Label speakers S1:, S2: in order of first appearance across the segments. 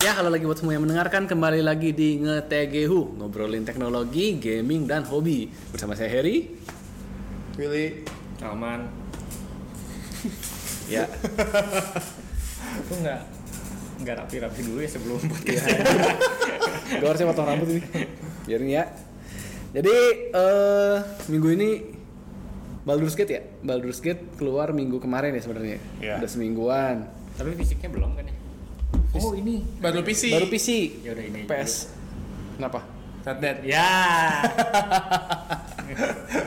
S1: Ya, halo lagi buat semua yang mendengarkan kembali lagi di Ngetegehu, ngobrolin teknologi, gaming dan hobi bersama saya Heri.
S2: Willy
S3: Aman.
S1: Ya,
S3: Aku nggak nggak rapi-rapi dulu ya sebelum podcast.
S1: gue harusnya potong rambut ini. Biarin ya. Jadi eh minggu ini Baldur's Gate ya, Baldur's Gate keluar minggu kemarin ya sebenarnya.
S2: Iya.
S1: Udah semingguan.
S3: Tapi fisiknya belum kan ya? Oh ini.
S2: baru PC
S1: Baru PC.
S3: Ya udah ini.
S1: PS. Kenapa?
S2: not dead
S3: Ya.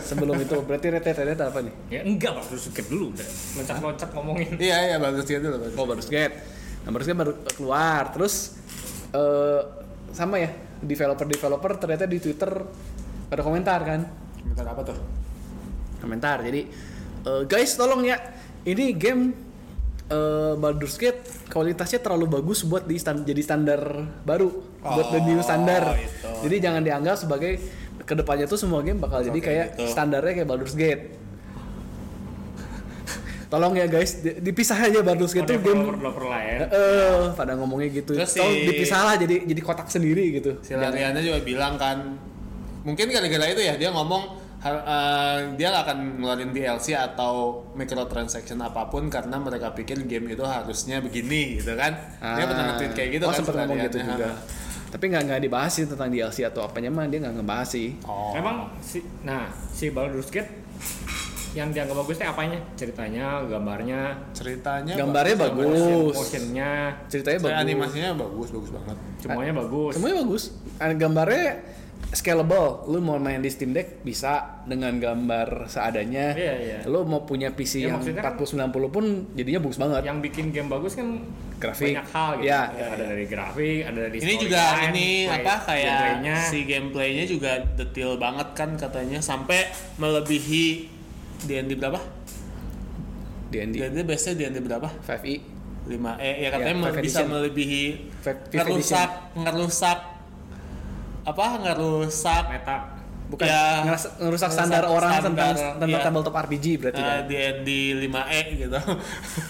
S1: Sebelum itu berarti Red Dead Red Dead apa nih?
S3: ya enggak Pak, terus skip dulu udah. Loncat-loncat ngomongin.
S2: iya iya bagus dia dulu bagus
S1: Oh Baldur's Gate. Nah, Baldur's Gate baru keluar. Terus eh sama ya, developer-developer ternyata di Twitter ada komentar kan.
S2: bentar apa tuh
S1: Komentar. Jadi eh, guys tolong ya, ini game eh, Baldur's Gate kualitasnya terlalu bagus buat di stan- jadi standar baru, buat the new standar.
S2: itu.
S1: Jadi jangan dianggap sebagai kedepannya tuh semua game bakal jadi kayak
S2: gitu.
S1: standarnya kayak Baldur's Gate. Tolong ya guys, di- dipisah aja Baldur's Gate tuh game
S3: developer lain.
S1: Eh, pada ngomongnya gitu.
S2: Terus
S1: Tau
S2: si-
S1: dipisah lah jadi jadi kotak sendiri gitu.
S2: si Lariana juga bilang kan mungkin gara-gara itu ya dia ngomong har- eh, dia nggak akan ngeluarin DLC atau microtransaction apapun karena mereka pikir game itu harusnya begini gitu kan
S1: Ah.
S2: dia pernah nge-tweet kayak gitu
S1: oh,
S2: kan
S1: sempet
S2: si
S1: ngomong gitu
S2: Lariana.
S1: juga. Tapi nggak nggak dibahas sih tentang DLC atau apanya mah dia nggak ngebahas sih.
S2: oh
S3: Emang si nah si Baldur's Gate yang dianggap bagusnya apanya? Ceritanya, gambarnya,
S2: ceritanya
S1: Gambarnya bagus,
S3: motionnya,
S1: ceritanya
S2: bagus.
S1: bagus,
S2: animasinya bagus bagus banget
S3: semuanya bagus.
S1: semuanya bagus. Ah, Gambarnya scalable. Lu mau main di Steam Deck bisa dengan gambar seadanya.
S3: Iya, iya.
S1: Lu mau punya PC
S3: Ya,
S1: yang
S3: maksudnya kan-
S1: 40 90 pun jadinya bagus banget.
S2: Ya.
S3: Yang bikin game bagus kan
S1: Grafik.
S3: banyak hal gitu.
S1: Ya.
S3: Ada dari grafik, ada dari
S2: Ini
S3: storyline,
S2: juga ini
S3: play-
S2: apa kayak
S3: gameplaynya.
S2: si gameplaynya juga detail banget kan katanya sampai melebihi D&D berapa?
S1: D&D
S2: D&D biasanya D&D berapa?
S1: 5e.
S2: 5 eh
S1: Ya,
S2: ya katanya mele-
S1: five
S2: bisa
S1: edition.
S2: melebihi
S1: Five- fifth
S2: ngerusak ngerusak apa ngerusak
S3: meta
S1: Bukan
S2: Ya,
S1: ngeras- ngerusak standar orang tentang tentang
S2: ya,
S1: tabletop RPG berarti
S2: eh,
S1: kan.
S2: D&D 5E gitu.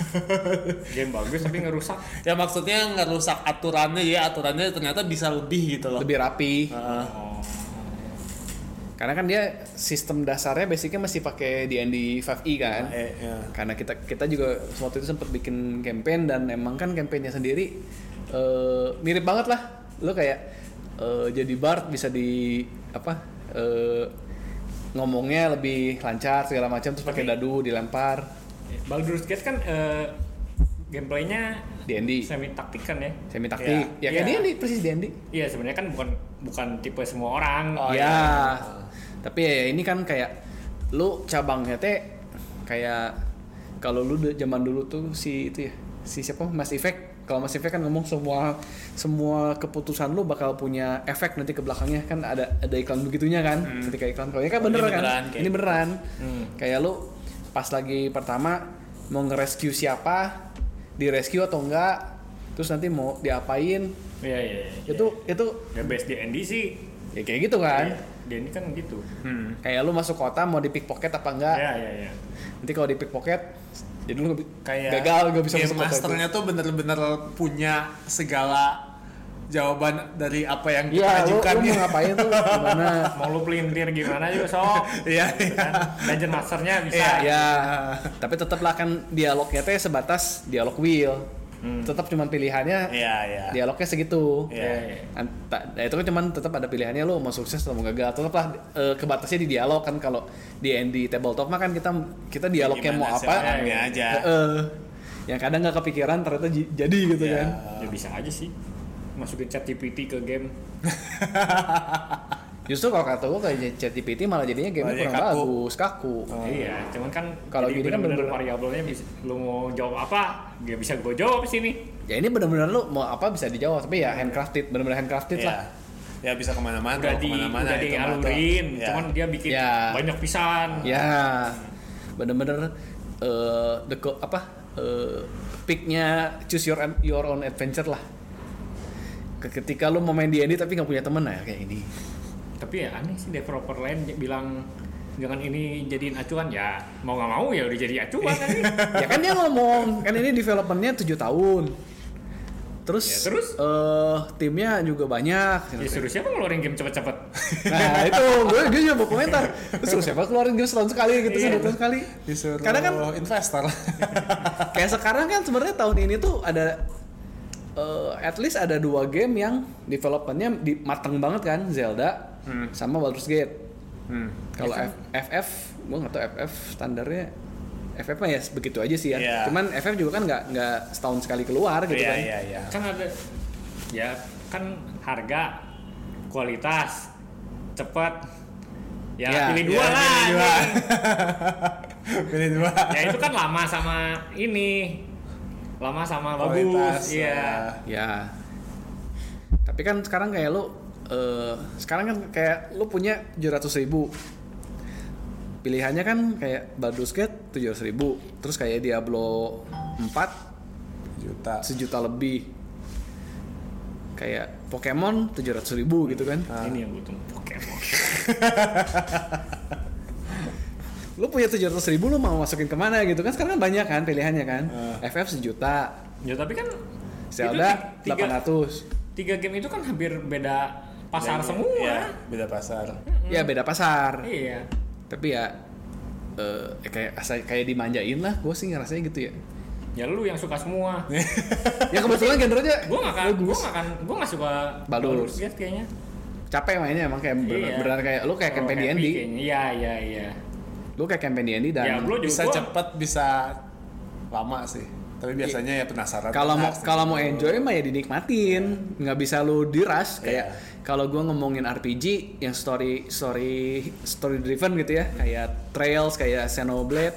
S3: game bagus tapi ngerusak
S2: ya maksudnya ngerusak aturannya ya aturannya ternyata bisa lebih gitu loh.
S1: lebih rapi
S2: Heeh.
S1: karena kan dia sistem dasarnya basicnya masih pakai D&D 5e kan
S2: Eh, ya.
S1: karena kita kita juga waktu itu sempat bikin campaign dan emang kan campaignnya sendiri eh, mirip banget lah lo kayak eh, jadi bard bisa di apa eh, ngomongnya lebih lancar segala macam terus pakai dadu dilempar
S3: Baldur's Gate kan eh, gameplaynya
S1: D&D
S3: semi taktik kan ya
S1: semi taktik ya,
S3: Iya.
S1: kayak
S3: Iya.
S1: D&D persis D&D
S3: iya sebenarnya kan bukan bukan tipe semua orang
S2: Oh,
S1: ya,
S2: iya.
S1: tapi ya ini kan kayak lu cabangnya teh kayak kalau lu de- zaman dulu tuh si itu ya si siapa Mas Effect kalau Mas Effect kan ngomong semua semua keputusan lu bakal punya efek nanti ke belakangnya kan ada ada iklan begitunya kan ketika iklan kalau ini kan
S2: Oh, ini
S1: beneran,
S2: beneran,
S1: kan
S2: kayak
S1: ini beneran
S3: Hmm.
S1: kayak lu pas lagi pertama mau ngerescue siapa di rescue atau enggak terus nanti mau diapain
S3: iya iya iya.
S1: itu itu
S3: ya best D&D sih
S1: ya kayak gitu kan
S3: Iya, D&D kan gitu
S2: Hmm.
S1: kayak lu masuk kota mau di pickpocket apa enggak
S3: iya iya iya
S1: nanti kalau di pickpocket jadi lu nggak bi-
S2: kayak
S1: gagal gak bisa
S2: game
S1: masuk kota itu
S2: masternya tuh bener-bener punya segala jawaban dari apa yang kita
S1: iya lu,
S2: ajukan
S1: lu mau ngapain tuh gimana
S3: mau lu pelintir gimana juga sok
S2: Iya,
S3: Gitu kan. Dungeon Masternya bisa
S2: Iya,
S1: ya tapi tetaplah kan dialognya teh sebatas dialog wheel tetap cuman pilihannya
S2: Hmm. iya iya
S1: dialognya segitu
S2: Iya.
S3: iya.
S1: Anta- nah, itu kan cuman tetap ada pilihannya lo mau sukses atau mau gagal tetaplah eh, kebatasnya di dialog kan kalau di di tabletop mah kan kita kita
S2: Iya,
S1: dialognya mau
S2: Gimana sih
S1: apa
S2: orangnya aja
S1: eh, eh, yang kadang nggak kepikiran ternyata j- jadi gitu
S2: Iya.
S1: kan
S3: ya bisa aja sih masukin chat GPT ke game
S1: Justru kalau kata gue kayak ChatGPT malah jadinya game
S2: Malah jadi
S1: kurang
S2: kaku.
S1: bagus, kaku.
S3: iya cuman kan
S1: Kalau
S3: jadi
S1: gini kan
S3: bener-bener
S1: bener-bener-
S3: variabelnya bisa, lu mau jawab apa dia bisa gue jawab sini
S1: Ya ini benar-benar lu mau apa bisa dijawab, tapi ya handcrafted, benar-benar handcrafted
S2: Iya.
S1: lah.
S2: ya bisa kemana-mana
S3: udah
S2: mau
S3: di
S2: kemana-mana
S3: udah
S2: itu mah tuh.
S3: dialurin
S2: Iya.
S3: cuman dia bikin
S1: Ya.
S3: banyak pisan
S1: Ya, benar-benar eh the co- apa eh picknya choose your an- your own adventure lah. Ke- Ketika lu mau main D&D tapi nggak punya temen nah kayak ini.
S3: tapi ya aneh sih developer lain j- bilang jangan ini jadiin acuan ya mau nggak mau ya udah jadi acuan kan
S1: ya kan dia ngomong kan ini developmentnya 7 tahun Terus,
S3: Ya, terus?
S1: eh, timnya juga banyak.
S2: Iya
S3: Ya suruh siapa ngeluarin game cepet-cepet?
S1: Nah itu gue gue juga mau komentar. Terus suruh siapa keluarin game setahun sekali gitu
S3: Iya.
S1: setahun setahun sekali.
S2: Disuruh
S1: Karena kan
S2: investor.
S1: kayak sekarang kan sebenarnya tahun ini tuh ada eh, at least ada dua game yang developmentnya di, mateng banget kan Zelda sama Baldur's Gate.
S2: hmm.
S1: Kalau F- FF, gue nggak tahu FF standarnya. FF mah ya begitu aja sih ya.
S2: Iya.
S1: Cuman FF juga kan nggak nggak setahun sekali keluar gitu
S2: Iya
S1: kan.
S2: iya iya.
S3: Kan ada ya kan harga, kualitas, cepet. Ya,
S1: Ya,
S3: pilih
S2: Ya,
S3: dua lah.
S2: Pilih dua.
S3: anjing.
S2: pilih dua.
S3: ya itu kan lama sama ini. Lama sama
S2: Kualitas,
S3: bagus. Iya.
S1: Ya. Tapi kan sekarang kayak lu eh, sekarang kan kayak lu punya 700.000 ribu. Pilihannya kan kayak Baldur's Gate 700.000 ribu. Terus kayak Diablo 4
S2: eh, juta.
S1: sejuta lebih. Kayak Pokemon 700.000 ribu gitu kan.
S3: Ini yang gue tunggu Pokemon.
S1: Lu punya 700.000 ribu lu mau masukin kemana gitu kan. Sekarang kan banyak kan pilihannya kan. FF sejuta.
S3: Ya tapi kan
S1: Zelda
S3: itu ti- tiga,
S1: 800.
S3: tiga game itu kan hampir beda pasar
S2: Dan-
S3: semua.
S2: Iya, beda pasar.
S1: Ya beda pasar.
S3: Iya.
S1: tapi ya eh, kayak asa- kayak dimanjain lah gue sih ngerasanya gitu ya
S3: Ya lu yang suka semua.
S1: ya kebetulan genrenya
S3: gue gak akan, gue gak akan, gue gak suka
S1: Baldur.
S3: Gate kayaknya.
S1: capek mainnya emang kayak bener,
S3: Iya.
S1: beneran kayak lu kayak
S3: Oh,
S1: campaign di
S3: happy
S1: Andy
S3: kayaknya. Iya, iya, iya.
S1: lu kayak campaign di Andy dan
S3: ya, lu juga
S2: Bisa
S3: gua-
S2: cepet, bisa lama sih.
S3: Iya.
S2: Tapi biasanya ya penasaran.
S1: kalau mau
S2: Ah,
S1: kalau mau enjoy mah ya dinikmatin nggak bisa lu diras kayak
S2: Iya.
S1: kalau gue ngomongin RPG yang story story story driven gitu ya kayak Trails kayak Xenoblade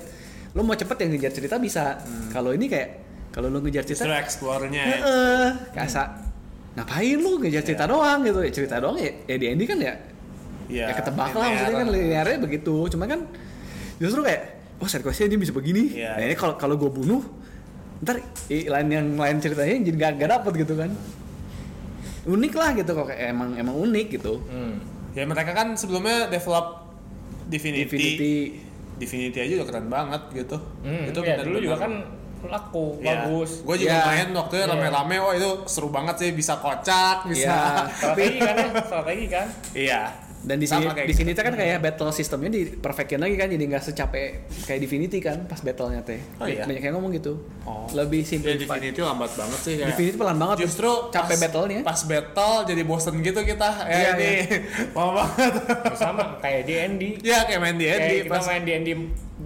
S1: lu mau cepet yang ngejar cerita bisa
S3: Hmm.
S1: kalau ini kayak kalau lu ngejar cerita
S2: Justru explore-nya ya.
S1: Heeh, kasa ngapain lu ngejar cerita doang gitu ya cerita doang ya, ya di ending kan ya ya
S2: Iya,
S1: ketebak lah
S2: linear
S1: maksudnya kan
S2: lah.
S1: linearnya begitu cuman kan justru kayak oh side questnya ini bisa begini
S2: Iya.
S1: nah ini kalau kalau gue bunuh ntar i- lain yang lain ceritanya jadi gak, gak dapet gitu kan unik lah gitu kok kayak emang emang unik gitu
S3: Hmm.
S2: Ya mereka kan sebelumnya develop Divinity. Divinity,
S1: Infinity
S2: aja udah keren banget gitu.
S3: Hmm. Itu ya, dulu
S2: bener-bener-
S3: juga kan laku,
S2: Iya.
S3: bagus.
S2: Gue juga
S1: Iya.
S2: main waktu itu
S3: Iya.
S2: rame-rame, wah itu seru banget sih, bisa kocak, bisa.
S1: Iya.
S3: Strategi kan ya, strategi kan.
S2: Iya.
S1: dan di sini
S2: Sama kayak gitu.
S1: di sini kan kayak battle sistemnya di perfectin lagi kan jadi nggak secapek kayak Divinity kan pas battlenya teh
S2: Oh iya?
S1: banyak yang ngomong gitu
S2: Oh.
S1: lebih
S2: Ya,
S1: simplified
S2: Divinity lambat banget sih kayak.
S1: Divinity pelan banget
S2: Justru
S1: capek
S2: pas-
S1: battle-nya.
S2: Pas battle jadi bosen gitu kita.
S1: Iya,
S2: Ya ini lama banget.
S3: Sama kayak di Andy.
S2: ya kayak main di
S3: Kayak
S2: Andy
S3: kita
S2: pas
S3: main di Andy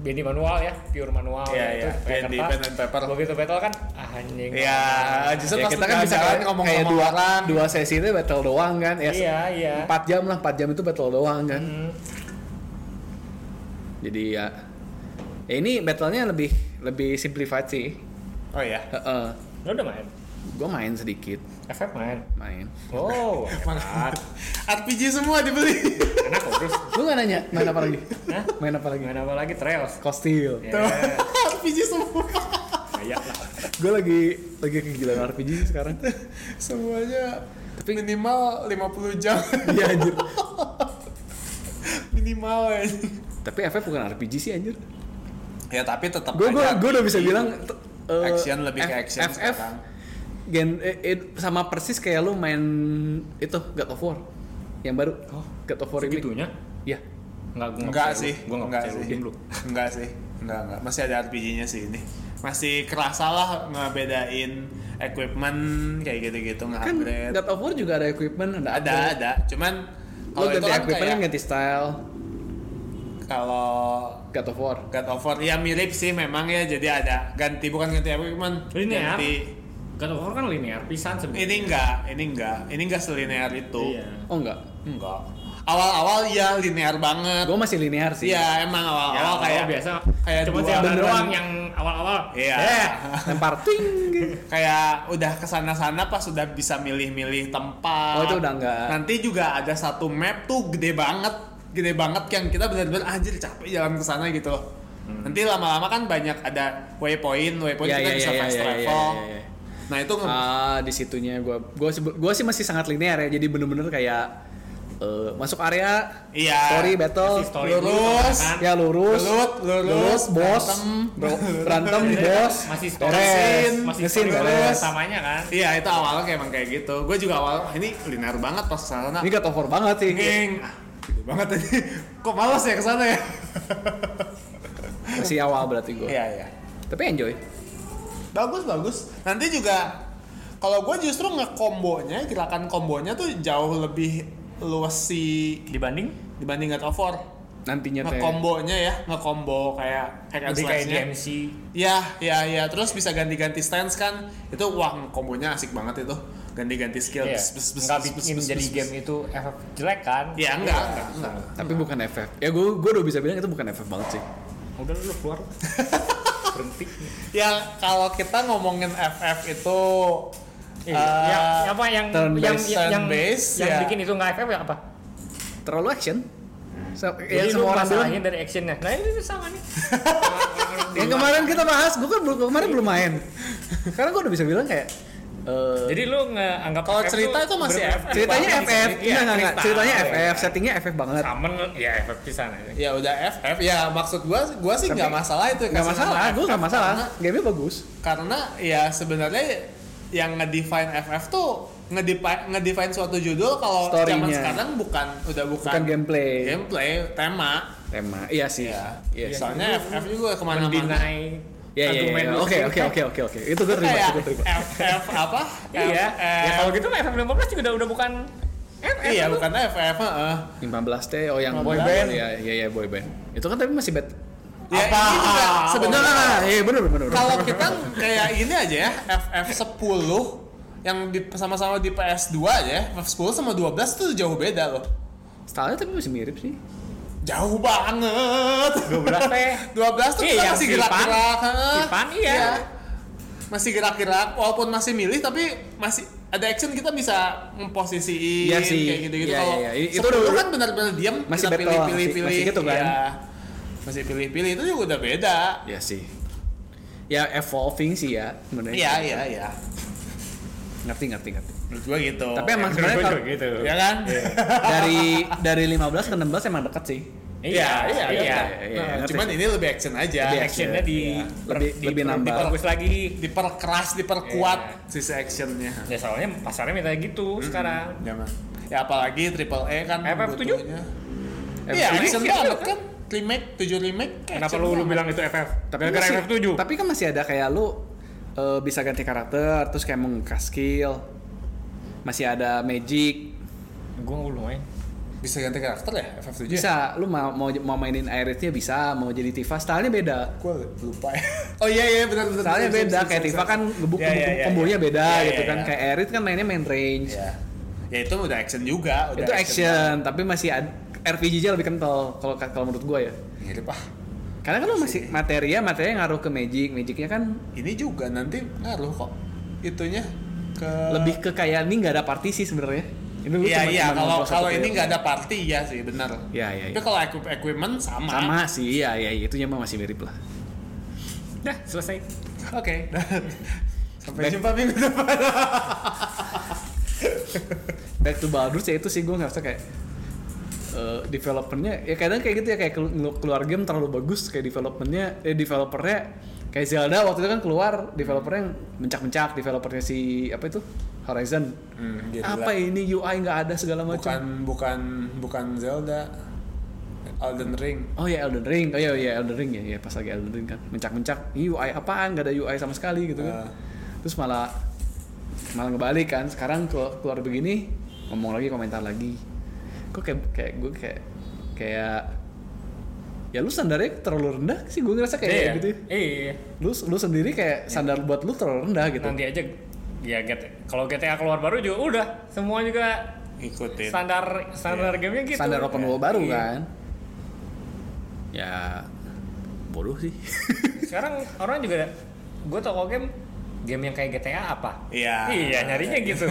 S3: Bendy manual ya, pure manual
S2: Iya,
S3: ya,
S2: iya.
S3: kayak
S2: D&D,
S3: kertas.
S2: pen and paper.
S3: Begitu battle kan, ah anjing.
S2: Ya, justru
S1: Ya,
S2: pas
S1: kita kan bisa
S2: jalan
S1: kayak-
S2: ngomong
S1: kayak
S2: sama
S1: dua,
S2: orang.
S1: dua sesi itu battle doang kan ya
S3: Iya, iya.
S1: 4 jam lah 4 jam itu battle doang kan
S3: Hmm.
S1: jadi ya, ya ini battlenya lebih lebih simplified sih
S2: Oh iya.
S1: Heeh.
S3: Lo udah main?
S1: gue main sedikit
S3: FF main.
S1: main
S3: Oh,
S2: Mana- RPG semua dibeli.
S3: enak kok terus.
S1: lu gak nanya main apa lagi
S3: Hah?
S1: main apa lagi
S3: Main apa lagi trails?
S1: Kostil
S2: Iya.
S3: Ya,
S2: RPG semua.
S3: kayak lah.
S1: gue lagi lagi kegilaan RPG sih sekarang
S2: Semuanya minimal 50 jam.
S1: iya anjir
S2: minimal aja.
S1: tapi FF bukan RPG sih anjir
S2: Ya tapi tetap
S1: gue gue
S2: aja
S1: gue udah bisa bilang t- eh,
S2: action lebih ke
S1: F-
S2: action
S1: FF
S2: sekarang.
S1: gen eh, eh, sama persis kayak lu main itu God of War yang baru oh, God of War ini
S3: Segitunya?
S1: ya
S3: Enggak, gua
S2: Enggak
S3: percaya
S2: sih,
S3: lu. Gua enggak
S2: enggak
S3: percaya lu.
S2: sih.
S3: Diem lu.
S2: Enggak sih. Enggak, enggak. Masih ada RPG-nya sih ini. Masih kerasa lah ngebedain equipment kayak gitu-gitu
S1: kan
S2: nge-upgrade.
S1: God of War juga ada equipment ada
S2: ada,
S1: upgrade.
S2: ada. Cuman
S1: lu
S2: kalau itu
S1: ganti
S2: kan
S1: equipment
S2: kayak
S1: ganti style
S2: kalau
S1: God of War
S2: God of War ya mirip sih memang ya jadi ada ganti bukan ganti equipment
S3: Ini ya.
S2: ganti
S3: God of War kan linear pisan sebenarnya.
S2: ini enggak ini enggak ini enggak selinear itu
S3: Iya.
S1: oh enggak
S2: enggak awal-awal ya linear banget
S1: gue masih linear sih
S2: Iya emang
S3: Ya,
S2: awal-awal kayak
S3: biasa.
S2: kayak
S3: Cuma
S2: dua-
S3: si Aldan
S1: beneran.
S3: doang yang awal-awal.
S2: Iya.
S3: Eh,
S1: lempar ting
S2: kayak udah kesana-sana pas udah bisa milih-milih tempat.
S1: Oh, itu udah enggak.
S2: Nanti juga ada satu map tuh gede banget, gede banget yang kita benar-benar anjir capek jalan ke sana gitu loh. Nanti lama-lama kan banyak ada waypoint, waypoint
S1: Hmm. Ya,
S2: kita
S1: ya,
S2: bisa
S1: ya,
S2: fast
S1: ya, ya,
S2: travel.
S1: ya, ya, ya.
S2: Nah itu nge-
S1: ah di situnya gue gue sih masih sangat linear ya jadi bener-bener kayak eh, masuk area,
S2: Iya.
S1: story battle,
S3: Kasih story dulu,
S2: Lurus.
S3: kan?
S1: ya lurus,
S2: Lulut, lurus,
S1: bos,
S2: berantem.
S1: bro- berantem, bos,
S3: masih story
S1: beres,
S3: masih
S1: ngesin,
S3: story
S1: beres.
S3: utamanya kan
S2: Iya itu awalnya kayak emang kayak gitu. Gue juga awal "Ah, ini linear banget pas kesana.
S1: Ini gak over banget sih.
S2: Geng, ah, gede banget ini. Kok malas ya kesana ya?
S1: Masih awal berarti gue.
S2: Iya iya.
S1: Tapi enjoy.
S2: Bagus bagus. Nanti juga kalau gue justru ngekombonya gerakan kombonya tuh jauh lebih luas sih
S3: dibanding
S2: dibanding God of War.
S1: Nantinya teh.
S2: Ngekombonya ya, ngekombo kayak hack and
S3: Iya, lebih kayak
S2: slash-nya.
S3: DMC
S2: Ya, ya, ya. Terus bisa ganti-ganti stance kan? Itu wah kombonya asik banget itu. Ganti-ganti skill.
S3: Iya.
S2: Bes, bes, bes,
S3: nggak
S2: bes, bes,
S3: bikin
S2: bes,
S3: jadi
S2: bes,
S3: game
S2: bes.
S3: itu efek jelek kan
S2: Ya enggak, enggak, enggak.
S1: Tapi bukan FF. Ya gue gue udah bisa bilang itu bukan FF banget sih.
S3: udah lu keluar berhenti
S2: Ya kalau kita ngomongin FF itu
S3: Iya.
S2: eh,
S3: yang, apa yang
S1: turn
S3: yang
S1: based,
S3: yang, yang,
S2: turn based,
S3: yang
S2: ya.
S3: bikin itu nggak efek apa
S1: Terlalu action. So, ya
S3: jadi lu
S1: semua orang bilang.
S3: masalahin dari actionnya nah ini sama nih
S1: Yang kemarin kita bahas, gue kan belum kemarin belum main. Karena gue udah bisa bilang kayak eh,
S3: jadi lu nganggap
S2: Kalau
S3: FF
S2: cerita
S3: tuh
S2: itu masih
S3: bener-bener
S2: FF.
S1: ceritanya
S2: banget
S1: FF,
S2: sih. Iya,
S1: enggak enggak enggak.
S2: cerita.
S1: Ceritanya
S2: Iya,
S1: FF, settingnya FF banget.
S3: Summon ya efek pisan aja.
S2: ya udah FF. Ya maksud gua gua sih
S1: Tapi-
S2: nggak masalah itu.
S1: Enggak
S2: Kasih
S1: masalah,
S2: nama
S1: gue enggak
S2: FF,
S1: masalah.
S2: karena-
S1: Game-nya bagus.
S2: Karena ya sebenarnya yang ngedefine FF tuh ngedefine, ngedefine suatu judul kalau zaman
S1: Story-nya.
S2: sekarang bukan udah bukan,
S1: Bukan gameplay.
S2: gameplay tema.
S1: Tema. Iya sih.
S2: Iya.
S1: Iya. sih.
S2: Soalnya FF juga kemana-mana.
S3: Mendinai
S1: Iya, iya,
S3: argumen
S1: iya.
S3: lu
S1: Oke,
S3: sih.
S1: oke, oke, oke, oke. Itu gue
S2: Itu
S1: terima,
S2: kayak
S1: itu gue terima.
S2: FF apa?
S3: Iya. Ya
S2: FF
S3: kalau gitu mah FF15 juga udah, udah bukan FF.
S2: Iya,
S3: lu.
S2: bukan FF, heeh.
S1: 15 teh, oh yang
S2: 15.
S1: boyband. Iya, iya, iya, boyband. Itu kan tapi masih bad.
S2: Ya,
S1: Apa?
S2: ini juga
S1: Sebenarnya
S2: sebenarnya
S1: iya benar benar.
S2: kalau kita kayak ini aja ya, FF10 yang di, sama-sama di PS2 aja, ya, FF10 sama 12 tuh jauh beda loh.
S1: stylenya tapi masih mirip sih.
S2: Jauh banget.
S3: 12 teh.
S2: 12 tuh
S3: Iya, yang
S2: kita kan masih
S3: Silpan.
S2: gerak-gerak. heeh.
S3: Silpan, iya.
S2: Masih gerak-gerak walaupun masih milih tapi masih ada action kita bisa memposisiin
S1: Iya sih.
S2: kayak gitu-gitu.
S1: Iya,
S2: Kalau
S1: iya, iya. Itu
S2: 10
S1: udah-
S2: kan benar-benar diam
S1: Masih
S2: kita
S1: battle,
S2: pilih-pilih
S1: masih-
S2: pilih.
S1: masih gitu kan?
S2: Iya. Masih pilih-pilih itu juga udah beda.
S1: Ya sih. Ya evolving sih ya sebenarnya.
S2: Iya, iya, iya.
S1: Ngerti ngerti ngerti.
S2: Menurut gua gitu.
S1: Tapi emang Iya. sebenarnya
S3: Gua juga
S1: kalau-
S3: gitu.
S2: ya kan?
S1: dari dari 15 ke 16 emang dekat sih.
S3: Iya, iya, iya.
S1: iya,
S2: Nah,
S1: ngerti.
S2: cuman ini lebih action aja.
S1: Lebih action.
S3: Actionnya di
S1: Iya. Lebih-
S3: di-
S1: lebih
S3: di-
S1: nambah.
S3: diperbagus lagi.
S2: Diperkeras, diperkuat
S1: Iya.
S2: sisi actionnya.
S3: Ya soalnya pasarnya minta gitu sekarang.
S2: Jangan. Ya apalagi triple E kan
S3: FF7?
S2: butuhnya.
S1: Eh,
S2: Iya,
S1: tapi-
S2: action
S3: iya,
S2: banget
S3: iya.
S2: kan. Remake, 7 remake.
S3: Kenapa
S2: action kan.
S3: lu lu
S2: banget.
S3: bilang itu FF?
S1: tapi
S3: Gara-gara
S1: masih-
S3: FF7.
S1: Tapi kan masih ada kayak lu eh, bisa ganti karakter, terus kayak mengkas skill. Masih ada magic.
S3: Gua belum
S2: eh.
S3: main.
S2: bisa ganti karakter ya FF7?
S1: Bisa lu mau mau, mau mainin Iris-nya bisa, mau jadi Tifa, stylenya beda.
S2: Gue lupa ya. Oh iya iya benar benar.
S1: Stylenya
S2: benar,
S1: beda,
S2: benar,
S1: kayak
S2: benar,
S1: Tifa
S2: benar.
S1: kan gebuk
S2: Iya, iya, iya,
S1: kombonya
S2: iya.
S1: beda
S2: Iya,
S1: gitu
S2: iya,
S1: kan.
S2: iya.
S1: Kayak Aerith kan mainnya main range.
S2: Iya. Ya itu udah action juga, udah
S1: itu action, tapi masih ad- RPG-nya lebih kental kalau kalau menurut gua ya.
S2: banget. Mirip ah.
S1: Karena kan lu masih materia, materia ngaruh ke magic, magicnya kan
S2: Ini juga nanti ngaruh kok. Itunya ke
S1: lebih ke kayak ini nggak ada partisi sebenarnya. Itu gua
S2: Eh. Iya
S1: cuma-
S2: iya
S1: cuma
S2: kalau
S1: ngobrol satu
S2: kalau
S1: player.
S2: ini nggak ada party ya sih benar.
S1: Iya iya.
S2: Tapi
S1: iya.
S2: kalau equip equipment sama.
S1: Sama sih, iya iya iya. itunya mah masih mirip lah.
S3: Dah, selesai.
S2: Oke. Sampai
S1: Back-
S2: jumpa minggu depan.
S1: Back to Baldur's ya itu sih gua ngerasa kayak eh, developernya ya kadang kayak gitu ya kayak kelu- ngelu- keluar game terlalu bagus kayak developernya eh developernya kayak Zelda waktu itu kan keluar developernya yang mencak-mencak developernya si apa itu Horizon
S2: Hmm, gitu
S1: apa ini UI nggak ada segala macam
S2: Bukan bukan bukan Zelda. Elden Ring.
S1: Oh ya Elden Ring, oh iya iya Elden Ring ya, ya pas lagi Elden Ring kan mencak-mencak "Ih, UI apaan gak ada UI sama sekali gitu kan.
S2: Ah.
S1: Terus malah malah ngebalik kan. Sekarang keluar, keluar begini ngomong lagi komentar lagi. Kok kayak kayak gue kayak kayak ya lu sandarnya terlalu rendah sih gue ngerasa kayak
S3: Iya.
S1: gitu.
S3: Iya.
S1: Lu lu sendiri kayak sandar buat lu terlalu rendah gitu.
S3: Nanti aja ya GT kalau GTA keluar baru juga udah semua juga
S2: Ikutin.
S3: standar standar
S2: Iya.
S3: gamenya gitu
S1: Standar open world baru
S3: Iya.
S1: kan. Ya bodoh sih.
S3: sekarang orang juga gue toko game game yang kayak GTA apa
S2: Iya.
S3: iya nyarinya gitu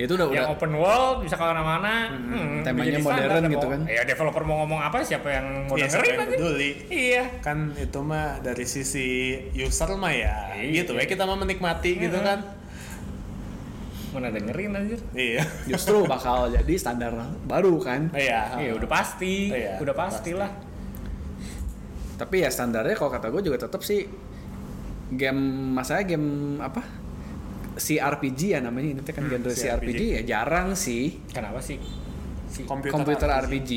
S1: itu udah udah
S3: yang open world bisa kemana-mana hmm,
S1: Temanya
S3: jadi
S1: modern
S3: standar,
S1: gitu
S3: mau-
S1: kan.
S3: ya developer mau ngomong apa siapa yang mau
S2: Iya, siapa
S3: dengerin
S2: yang
S3: aja
S2: peduli?
S3: iya
S2: kan itu mah dari sisi user mah ya
S3: Iya.
S2: gitu ya kita mah menikmati gitu kan
S3: mana dengerin anjir
S2: Iya.
S1: Justru bakal jadi standar baru kan.
S2: Iya.
S3: Iya udah pasti,
S2: Iya,
S3: udah pastilah.
S1: Tapi ya standarnya kalau kata gue juga tetap sih game masalahnya game apa? CRPG ya namanya ini teh
S2: Hmm,
S1: kan genre
S2: CRPG.
S1: CRPG. ya jarang sih
S3: Kenapa sih? Si,
S2: Komputer,
S1: komputer
S2: RPG.
S1: RPG,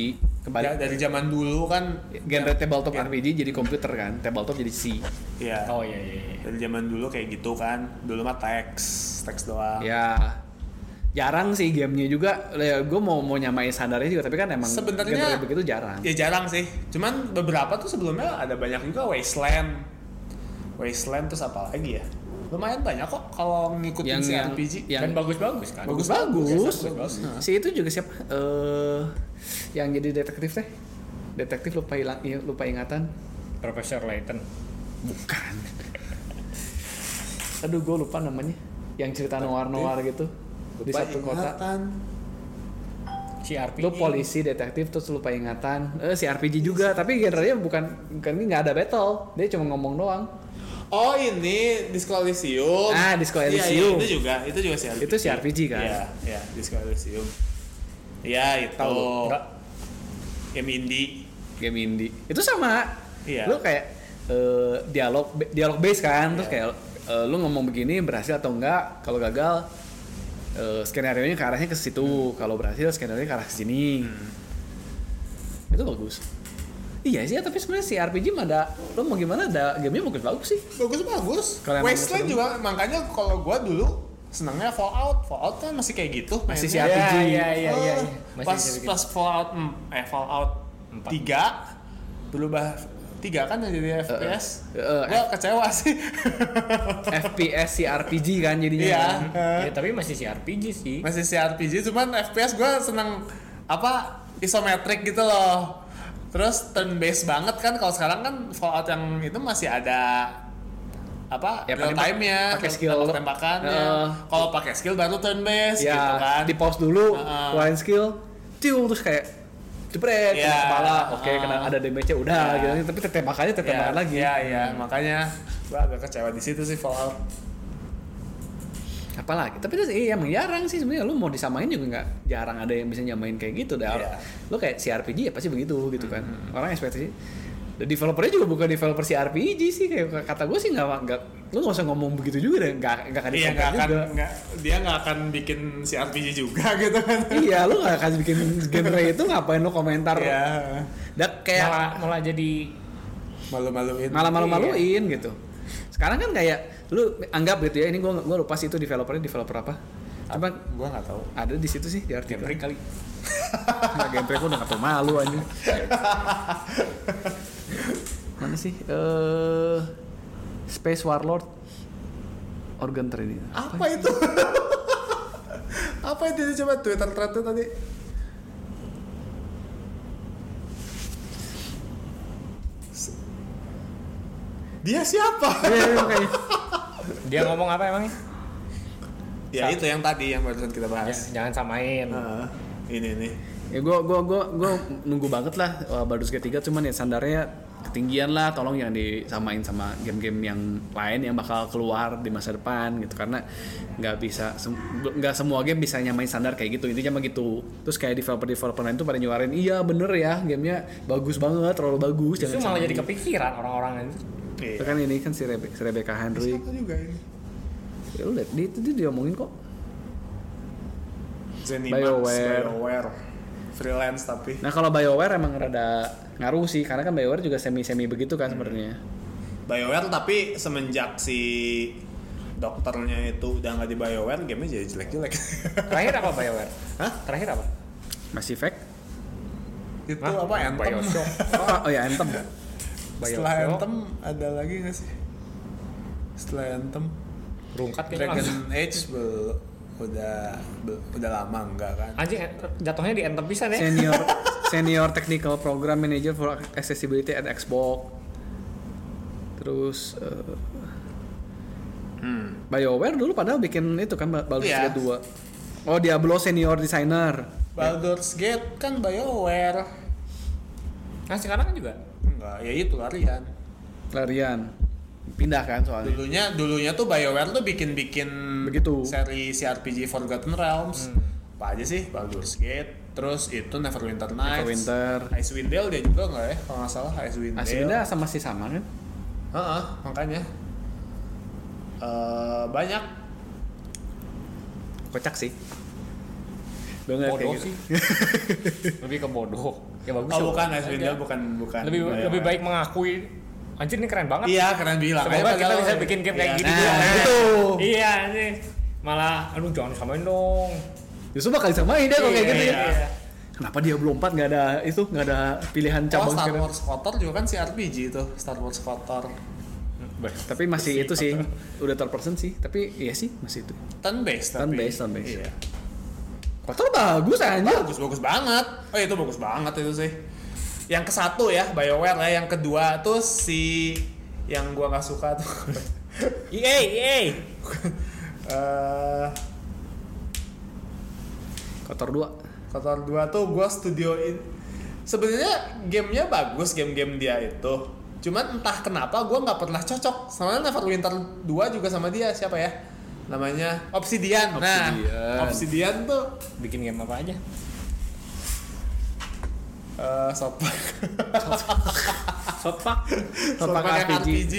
S1: kembali
S2: Ya, dari zaman dulu kan
S1: genre tabletop RPG jadi komputer kan tabletop jadi C
S2: Iya.
S3: oh iya iya. iya.
S2: Dari zaman dulu kayak gitu kan. Dulu mah teks, teks doang.
S1: ya jarang sih gamenya juga ya, gue mau mau nyamain standarnya juga tapi kan emang
S2: Sebenarnya-
S1: genre begitu jarang
S2: Ya jarang sih. Cuman beberapa tuh sebelumnya ada banyak juga Wasteland. Wasteland terus apa lagi ya? Lumayan banyak kok kalau ngikutin
S1: Yang-
S2: si
S1: yang-
S2: RPG.
S1: yang-
S3: Dan bagus-bagus kan.
S1: bagus-bagus
S2: Bagus-bagus.
S1: Hmm. si itu juga siapa eh yang jadi detektif teh detektif lupa hilang iya, lupa ingatan
S3: Profesor Layton.
S1: bukan aduh gue lupa namanya yang cerita noir noir gitu di
S2: Lupa
S1: satu kota
S2: ingatan.
S3: Si RPG.
S1: lu polisi detektif terus lupa ingatan eh si RPG juga tapi genrenya bukan bukan nggak ada battle dia cuma ngomong doang
S2: Oh ini Disco Elysium.
S1: Ah, Disco
S2: Iya,
S1: Elysium.
S2: iya, itu juga, itu juga si RPG.
S1: Itu si RPG kan?
S2: Iya, iya, Disco Elysium. Iya itu.
S1: Tahu lu? Enggak.
S2: Game indie.
S1: game indie itu sama
S2: Iya.
S1: lu kayak eh, dialog dialog base kan
S2: Iya.
S1: terus kayak eh, lu ngomong begini berhasil atau enggak kalau gagal skenario nya ke arahnya ke situ
S2: Hmm.
S1: kalau berhasil skenario nya ke arah ke sini
S2: Hmm.
S1: itu bagus iya sih tapi sebenarnya si RPG mah ada lu mau gimana ada gamenya bagus bagus sih
S2: bagus bagus
S1: Kalau yang
S2: Wasteland
S1: bagus,
S2: juga makanya kalau gua dulu senengnya Fallout Fallout kan masih kayak gitu
S1: Masih
S2: mainnya.
S1: si
S3: Iya
S1: RPG.
S3: iya iya iya.
S2: Ah,
S3: Masih
S2: pas
S3: bisa bikin.
S2: pas Fallout mm, eh Fallout
S3: Empat.
S2: 3 berubah 3 kan yang jadi
S1: Eh,
S2: FPS
S1: Heeh.
S2: gua kecewa sih
S1: FPS si RPG kan jadinya
S2: iya
S1: kan.
S2: eh,
S3: Ya, tapi masih si RPG sih.
S2: masih si RPG cuman FPS gua seneng apa isometric gitu loh terus turn based banget kan kalau sekarang kan Fallout yang itu masih ada apa
S1: Ya,
S2: real
S1: pakai-
S2: time nya
S1: pakai skill.
S2: tembakannya
S1: Heeh.
S2: kalau pakai skill baru turn based
S1: ya
S2: gitu kan
S1: di pause dulu
S2: Heeh.
S1: keluarin skill tiu terus kayak jepret kena
S2: Iya.
S1: kepala oke kena
S2: Heeh.
S1: ada damage-nya udah
S2: Iya.
S1: gitu tapi tembakannya tembakan lagi
S2: ya ya makanya gua agak kecewa di situ sih Fallout
S1: apalagi tapi itu iya emang jarang sih sebenarnya lu mau disamain juga nggak jarang ada yang bisa nyamain kayak gitu dah
S2: Iya.
S1: lu kayak si RPG ya pasti begitu gitu kan
S2: Hmm.
S1: orang ekspektasi dan developernya juga bukan developer si RPG sih kayak kata gue sih nggak nggak lu nggak usah ngomong begitu juga deh nggak nggak akan
S2: dia
S1: dikompar
S2: Iya, nggak akan
S1: juga.
S2: nggak dia nggak akan bikin si RPG juga gitu kan
S1: iya lu nggak akan bikin genre itu ngapain lu komentar
S2: ya
S1: Dah kayak
S3: Malah malah jadi
S2: malu-maluin
S3: Iya.
S1: malah malu-maluin gitu. Sekarang kan kayak lu anggap gitu ya ini gua gua lupa sih itu developernya developer apa. Cuma
S2: gua nggak tahu
S1: ada di situ sih di artikel.
S3: gameplay kali.
S1: Nah, gameplay gua udah gak tau malu aja. Mana sih? Eh Space Warlord organ ini.
S2: apa itu apa itu coba Twitter thread tuh tadi S-
S3: Iya,
S2: dia siapa
S3: Dia ngomong apa emangnya?
S2: ya itu yang tadi yang barusan kita bahas
S3: Ya, Jangan samain.
S2: Heeh. ini nih
S1: Ya gua gua gua gua nunggu banget lah uh, Baldur's Gate 3 cuman ya standarnya ketinggian lah tolong yang disamain sama game-game yang lain yang bakal keluar di masa depan gitu karena nggak bisa sem- nggak semua game bisa nyamain standar kayak gitu intinya mah gitu terus kayak developer developer lain tuh pada nyuarin iya bener ya gamenya bagus banget terlalu bagus
S3: Justru
S1: disamain."
S3: malah jadi kepikiran orang-orang anjir.
S1: Itu kan ini kan si, Rebe- si Rebecca Henry
S2: siapa juga ini
S1: ya lu liat dia itu dia diomongin kok
S2: Zenimax
S1: BioWare.
S2: BioWare freelance tapi
S1: nah kalau Bioware emang rada ngaruh sih karena kan Bioware juga semi semi begitu kan sebenarnya
S2: BioWare tapi semenjak si dokternya itu udah nggak di BioWare gamenya jadi jelek-jelek
S3: Terakhir apa BioWare?
S2: Hah?
S3: Terakhir apa?
S1: Mass Effect
S2: itu
S3: Hah?
S2: apa Anthem
S3: Bioshock.
S1: oh, oh ya Anthem
S2: setelah
S3: Bioshock.
S2: Anthem ada lagi nggak sih setelah Anthem
S3: Rungkat kayaknya
S2: Dragon
S3: langsung.
S2: Age bel udah bel- udah lama enggak kan
S3: Anjing jatuhnya di Anthem pisan ya.
S1: senior senior technical program manager for accessibility at Xbox terus eh, Hmm. BioWare dulu padahal bikin itu kan Ba- Baldur's
S2: Iya.
S1: Gate 2 oh Diablo senior designer
S2: Baldur's Gate kan BioWare
S3: Nah, sekarang kan juga.
S2: enggak ya itu larian
S1: larian pindah kan soalnya
S2: dulunya dulunya tuh BioWare tuh bikin-bikin
S1: Begitu.
S2: seri CRPG Forgotten Realms. Apa aja sih? Baldur's Gate, terus itu Neverwinter Nights.
S1: Neverwinter.
S2: Icewind Dale dia juga nggak ya? Kalau nggak salah Icewind Dale.
S1: Aswinda sama si sama kan
S2: Heeh, makanya. Eh, banyak
S1: kocak sih gue
S3: bodoh
S2: gitu.
S3: sih lebih ke bodoh ya bagus
S2: Oh
S3: ya,
S2: bukan
S3: bagus
S2: Icewind
S3: aja.
S2: Dale bukan bukan.
S3: lebih
S2: BioWare.
S3: lebih baik mengakui anjir ini keren banget
S2: Kan, Iya, keren bilang.
S3: semoga
S2: Ayo,
S3: kita
S2: padahal-
S3: bisa bikin game kayak
S2: Iya,
S3: gini
S2: nah,
S3: juga.
S1: gitu.
S3: iya anjir malah aduh jangan samain dong
S1: justru bakal disamain dia kalau kayak
S3: Iya,
S1: gitu ya
S3: iya.
S1: kenapa dia belum empat nggak ada itu nggak ada pilihan
S2: Oh,
S1: cabang
S2: Star
S1: sekarang
S2: Wars Kotor juga kan CRPG itu Star Wars Kotor
S1: tapi masih itu sih udah terpersen sih tapi iya sih masih itu
S2: turn based tapi
S1: Turn-based, turn-based.
S2: Iya.
S1: kotor bagus anjir
S2: bagus bagus banget oh itu bagus banget itu sih yang ke satu ya Bioware ya yang kedua tuh si yang gua nggak suka tuh
S3: EA EA
S2: eh
S1: kotor dua
S2: kotor dua tuh gua studioin sebenarnya gamenya bagus game-game dia itu cuman entah kenapa gua nggak pernah cocok sama Neverwinter 2 juga sama dia siapa ya namanya Obsidian,
S1: Obsidian.
S2: nah Obsidian tuh
S3: bikin game apa aja
S2: eh sopak
S3: Ah, Sopak
S1: Sopak
S2: sopak yang
S1: RPG.
S2: RPG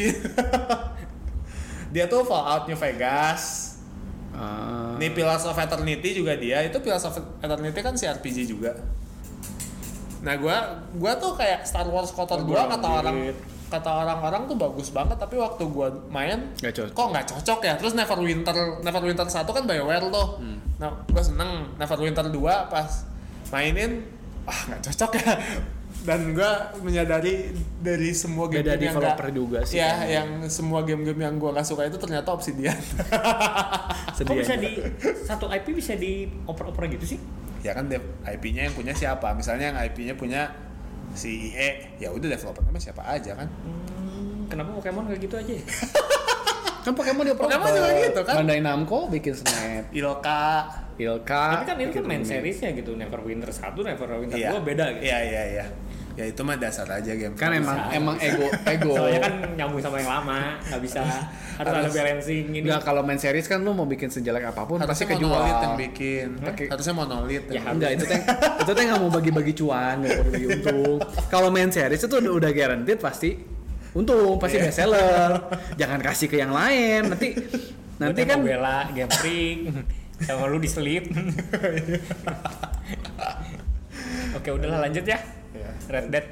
S2: dia tuh Fallout New Vegas
S1: Ah,
S2: Ini Pillars of Eternity juga dia, itu Pillars of Eternity kan CRPG juga. Nah, gua gua tuh kayak Star Wars kotor
S3: Oh,
S2: gua
S3: gua
S2: kata
S3: ambil.
S2: orang
S1: gitu.
S2: kata orang-orang tuh bagus banget tapi waktu gua main
S1: Nggak cocok.
S2: kok nggak cocok ya terus Neverwinter Neverwinter 1 kan BioWare tuh
S1: Hmm.
S2: nah gua seneng Neverwinter 2 pas mainin ah nggak cocok ya dan gua menyadari dari semua game
S1: Beda
S2: yang
S1: developer
S2: nggak-
S1: juga sih
S2: ya
S1: kayaknya.
S2: yang semua game-game yang gua nggak suka itu ternyata Obsidian
S1: sedih
S3: kok bisa
S1: anjir.
S3: di satu IP bisa dioper-oper gitu sih
S2: ya kan dev- IP-nya yang punya siapa misalnya yang IP-nya punya si IE ya udah developernya mah siapa aja kan
S3: kenapa Pokemon kayak gitu aja ya?
S1: kan Pokemon dia
S2: Pokemon juga gitu kan?
S1: Bandai Namco bikin Snap
S2: Iloka
S1: Ilka
S3: tapi kan itu
S1: bikin
S3: kan main
S1: Rumi.
S3: seriesnya gitu Neverwinter 1, Neverwinter
S2: Ah, Iya.
S3: 2 beda gitu
S2: iya iya iya ya itu mah dasar aja game
S1: kan emang
S3: Bisa.
S1: emang ego ego
S3: soalnya kan nyambung sama yang lama nggak bisa harus ada
S2: Harus.
S3: balancing ini
S1: Nggak, kalau main series kan lu mau bikin sejelek apapun pasti
S2: harusnya
S1: kejual
S2: monolit yang bikin
S1: Pakai-
S2: harusnya monolit
S3: Ya,
S2: yang-
S1: Enggak, itu teh itu teh nggak mau bagi-bagi cuan, nggak mau bagi untung. Kalau main series itu udah, udah guaranteed pasti untung, pasti
S3: Iya.
S1: best seller. Jangan kasih ke yang lain. Nanti nanti kan
S3: bela game freak sama lu diselip oke udahlah lanjut ya
S2: Iya.
S3: Red Dead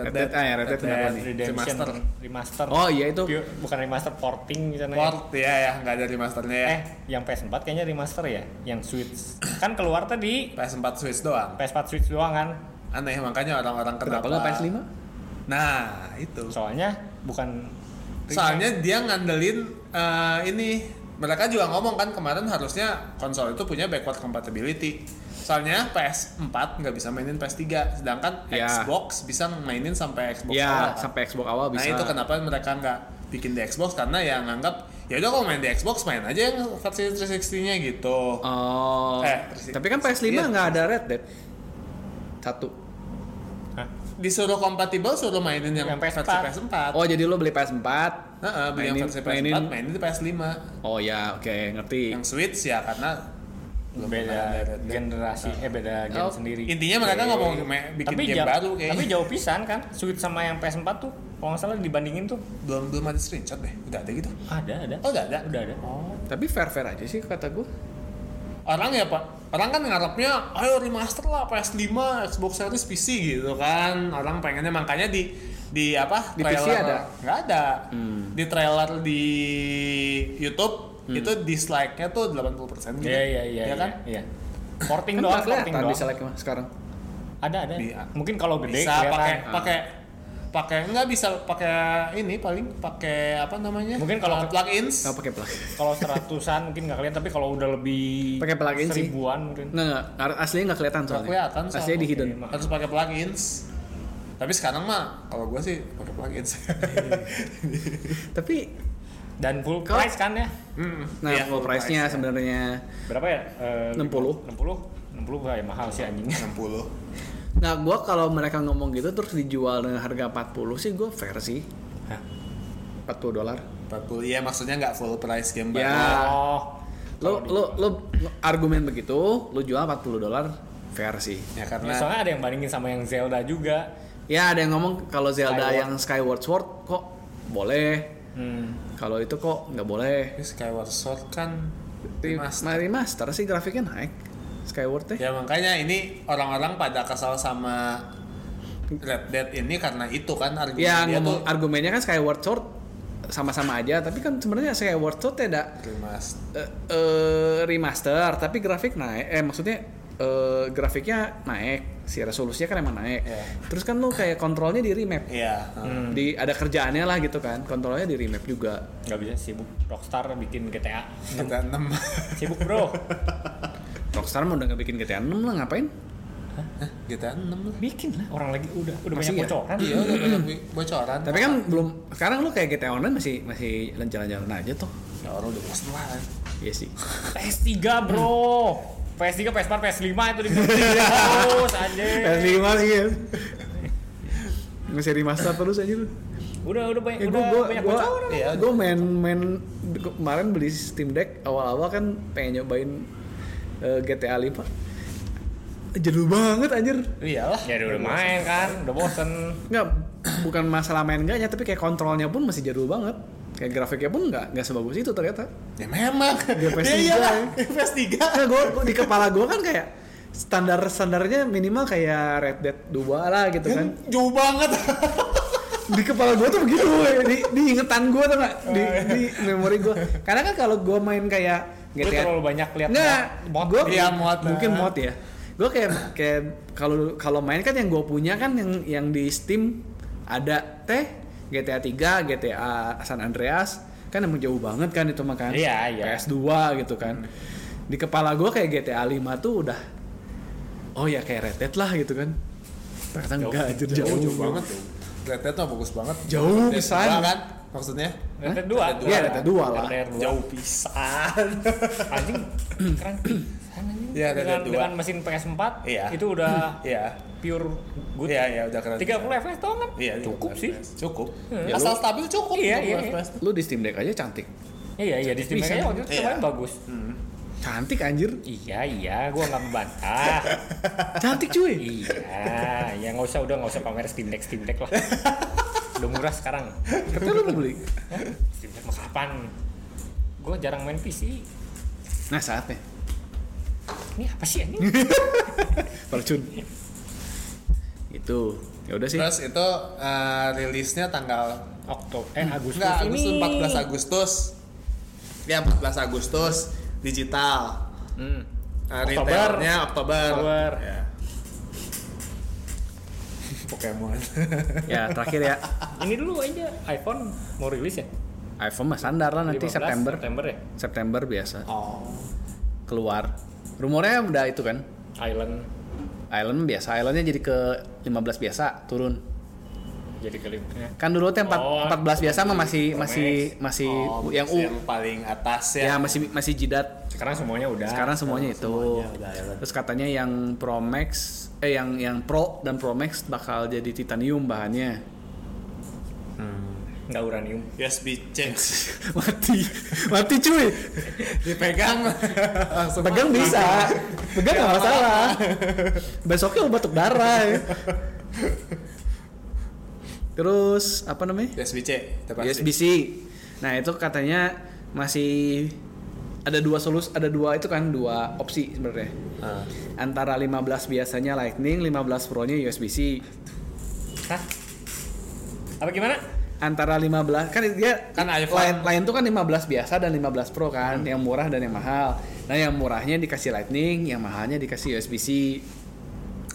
S1: Red Dead, ah, ya, Red Dead kenapa nih?
S3: Redemption
S2: Remaster.
S3: remaster
S1: Oh iya itu
S3: Pure- bukan remaster porting misalnya ya.
S2: port ya ya nggak ada remasternya ya
S3: eh yang PS4 kayaknya remaster ya yang Switch kan keluar tadi
S2: PS4 Switch doang
S3: PS4 Switch doang kan
S2: aneh makanya orang-orang
S1: kenapa
S2: kenapa
S1: nggak PS5?
S2: nah itu
S3: soalnya bukan
S1: Iya.
S2: soalnya dia ngandelin eh, ini mereka juga ngomong kan kemarin harusnya konsol itu punya backward compatibility soalnya PS4 nggak bisa mainin PS3 sedangkan
S1: Ya.
S2: Xbox bisa mainin sampai Xbox awal,
S1: Ya,
S2: kan?
S1: sampai Xbox awal
S2: nah
S1: bisa.
S2: itu kenapa mereka nggak bikin di Xbox karena ya nganggap ya udah kalau main di Xbox main aja yang versi 360-nya gitu
S1: Oh.
S2: Eh,
S1: tapi kan PS5
S2: iya.
S1: nggak ada Red Dead. Satu.
S3: Hah?
S2: disuruh kompatibel suruh mainin yang,
S3: Yang
S2: versi
S3: PS4.
S2: PS4
S1: Oh, jadi lo beli PS4.
S2: Heeh, beli yang
S1: Mainin-
S2: versi PS4
S1: mainin-
S2: mainin di PS5
S1: Oh ya, oke, ngerti.
S2: yang Switch ya karena belum pernah ada
S3: beda
S2: Red Dead.
S3: generasi eh beda
S1: Oh,
S3: game sendiri
S2: intinya mereka nggak mau me- bikin game
S3: jauh-
S2: baru kayaknya.
S3: tapi jauh pisan kan Switch sama yang PS4 tuh kalau nggak salah dibandingin tuh
S2: belum belum ada screenshot deh udah ada gitu
S3: ada ada
S2: oh udah ada
S3: udah ada
S1: Tapi fair-fair aja sih kata gue.
S2: orang ya pak orang kan ngarepnya ayo remaster lah PS5 Xbox Series PC gitu kan orang pengennya makanya di di apa
S1: Di PC ada?
S2: nggak ada
S3: Hmm.
S2: di trailer di YouTube itu dislike-nya tuh 80% gitu
S3: iya iya iya
S2: ya kan
S3: iya
S1: Kan
S3: porting doang
S1: nggak
S3: porting
S1: kelihatan
S3: doang Iya.
S1: bisa like sekarang.
S3: ada ada
S2: Di-
S3: mungkin kalau gede
S2: bisa
S3: kelihatan. Ah.
S2: pakai pakai pakai nggak bisa pakai ini paling pakai apa namanya
S3: Mungkin kalau-
S2: Uh, plugins
S1: Nggak pakai plug.
S3: kalau seratusan mungkin nggak kelihatan tapi kalau udah lebih
S1: Pakai plugin sih.
S3: seribuan mungkin
S1: Nggak, nggak. Ar- Aslinya nggak kelihatan soalnya.
S2: kelihatan soalnya.
S1: Aslinya di
S3: Oke,
S1: hidden.
S3: mak-
S2: harus pakai plugins tapi sekarang mah kalau gue sih pakai plugins
S1: Tapi
S3: dan full
S1: Kalau-
S3: price kan ya
S2: Hmm,
S1: nah
S2: iya,
S1: full price-nya sebenarnya
S3: berapa ya Eh,
S1: 60.
S3: 60 60 gak ya mahal sih anjing
S2: 60
S1: Nah,
S3: Nah.
S1: gua kalau mereka ngomong gitu terus dijual dengan harga 40 sih gua fair sih.
S3: Hah?
S1: 40 dolar.
S2: 40 ya maksudnya nggak full price game
S1: Ya.
S2: banget.
S3: Oh.
S1: Lu, lu, lu, lu argumen begitu, lu jual 40 dolar fair sih.
S2: Ya
S3: Ya,
S2: karena
S3: soalnya ada yang bandingin sama yang Zelda juga.
S1: Ya ada yang ngomong kalau Zelda
S3: Skyward.
S1: yang Skyward Sword kok boleh,
S3: Hmm.
S1: kalau itu kok nggak boleh.
S2: ini Skyward Sword kan
S1: Remaster.
S2: remaster.
S1: remaster sih grafiknya naik Skyward teh.
S2: Ya makanya ini orang-orang pada kesal sama Red Dead ini karena itu kan argumen
S1: Ya
S2: dia
S1: ngomong
S2: tuh
S1: argumennya kan Skyward Sword sama-sama aja, tapi kan sebenarnya Skyward Sword teh ada
S2: remaster.
S1: eh, eh, remaster, tapi grafik naik. Eh maksudnya eh, grafiknya naik, si resolusinya kan emang naik.
S2: Iya.
S1: Terus kan lu kayak kontrolnya di remap,
S2: Iya. heeh.
S1: di ada kerjaannya lah gitu kan, kontrolnya di remap juga.
S3: Gak bisa sibuk Rockstar bikin GTA.
S2: Kita enam.
S3: Sibuk bro.
S1: Rockstar mah udah nggak bikin GTA 6 lah ngapain?
S2: Kita enam lah.
S3: bikin lah. Orang lagi udah udah
S1: Masih
S3: banyak
S1: ya?
S3: bocoran.
S2: Iya, udah banyak bi- bocoran.
S1: Tapi kan belum sekarang lu kayak GTA Online masih masih jalan-jalan aja tuh.
S2: ya, orang udah bosan lah.
S1: Iya sih.
S3: PS3 bro. PS3, PS4, PS5 itu dibeli terus anjir.
S1: PS5 sih ya. Masih remaster terus aja lu.
S3: Udah udah
S1: Ya,
S3: banyak Eh, udah
S1: gue gue
S3: banyak
S1: gue
S3: bocoran.
S2: Iya.
S1: gue main main gua kemarin beli Steam Deck awal-awal kan pengen nyobain eh, GTA 5 jadul banget anjir
S2: Iyalah.
S3: Ya udah, udah main kan, udah bosen.
S1: nggak bukan masalah main enggaknya tapi kayak kontrolnya pun masih jadul banget kayak grafiknya pun nggak nggak sebagus itu ternyata
S2: Ya memang.
S1: Dia PS3.
S2: Ya iyalah. PS3.
S1: Nah, gua, gua- di kepala gue kan kayak standar standarnya minimal kayak Red Dead 2 lah gitu kan.
S2: Jauh banget.
S1: Di kepala gue tuh begitu, woy. di, di ingetan gue tuh nggak? di, di memori gue. Karena kan kalau gue main kayak
S3: Gue terlalu banyak lihat
S1: Nggak,
S3: mod.
S1: gua-
S2: Iya, mod lah.
S1: mungkin mod ya. Gue kayak kayak kalau kalau main kan yang gue punya kan yang yang di Steam ada teh GTA 3, GTA San Andreas kan emang jauh banget kan itu makan
S3: Iya, iya.
S1: PS2 gitu kan. Di kepala gue kayak GTA 5 tuh udah oh ya kayak Red Dead lah gitu kan. Ternyata enggak anjir, jauh,
S2: Jauh,
S1: jauh,
S2: jauh banget. Red Dead tuh bagus banget.
S1: Jauh
S2: Red Dead
S1: pisan.
S2: dua kan? Maksudnya?
S3: Red Dead 2.
S2: Red Dead
S1: Iya, Red Dead 2 lah.
S3: Jauh.
S2: Jauh pisan.
S3: Anjing keren. pisan anjing.
S2: Iya, Red Dead
S3: dengan,
S2: 2.
S3: dengan mesin PS4
S2: Iya.
S3: itu udah
S2: Iya.
S3: pure good.
S2: Iya, iya, udah keren.
S3: 30 FPS doang kan?
S2: Iya,
S3: cukup
S2: iya,
S3: sih.
S2: FPS. Cukup.
S3: Hmm.
S2: Asal stabil cukup.
S3: Iya,
S2: untuk
S3: iya,
S2: FPS.
S1: Lu di Steam Deck aja cantik.
S3: Iya, iya di Steam
S1: Bisa.
S3: kayaknya waktu itu
S2: Iya.
S3: kemarin bagus.
S1: Cantik anjir.
S3: Iya, iya, gua nggak membantah.
S1: Cantik cuy.
S3: iya, ya nggak usah udah nggak usah pamer Steam Deck Steam Deck lah. udah murah sekarang.
S1: Katanya lu mau beli.
S3: Hah? Steam Deck mah kapan? Gua jarang main PC.
S1: Nah, saatnya.
S3: Ini apa sih ini?
S1: Percun. Itu. Ya udah sih.
S2: Terus itu eh, rilisnya tanggal
S3: Oktober eh Agustus
S2: Enggak, Agustus
S3: ini.
S2: 14 Agustus. Ya 14 Agustus digital.
S3: Hmm.
S2: Eh,
S3: Oktober.
S2: retailnya Oktober.
S3: Oktober.
S2: Ya. Pokemon.
S1: Ya, terakhir ya.
S3: Ini dulu aja iPhone mau rilis ya?
S1: iPhone mah standar lah nanti
S3: 15
S1: September.
S3: September ya?
S1: September biasa
S2: oh.
S1: keluar. Rumornya udah itu kan.
S3: Island
S1: Island biasa, islandnya jadi ke 15 biasa turun.
S3: jadi kelipnya.
S1: Kan dulu tuh yang empat-
S3: Oh,
S1: 14 biasa mah masih
S3: Pro
S1: masih masih
S2: Oh,
S1: yang U.
S2: yang paling atas
S1: Ya
S2: ya.
S1: masih masih jidat.
S3: Sekarang semuanya udah.
S1: Sekarang semuanya itu.
S2: semuanya udah Island.
S1: Terus katanya yang Pro Max eh yang yang Pro dan Pro Max bakal jadi titanium bahannya.
S3: nggak uranium.
S2: USB C.
S1: mati. Mati cuy.
S2: Dipegang langsung
S1: Pegang bisa. Pegang nggak masalah. Besoknya lu batuk darah. ya. Terus apa namanya?
S2: USB C.
S1: USB-C. Nah, itu katanya masih ada dua solus, ada dua itu kan dua opsi sebenarnya.
S2: Ah.
S1: Antara 15 biasanya Lightning, 15 Pro-nya USB-C.
S3: Hah? Apa gimana?
S1: Antara 15 kan dia
S2: Kan iPhone. Hmm.
S1: lain lain tuh kan 15 biasa dan 15 Pro kan, yang murah dan yang mahal. Nah, yang murahnya dikasih Lightning, yang mahalnya dikasih USB-C.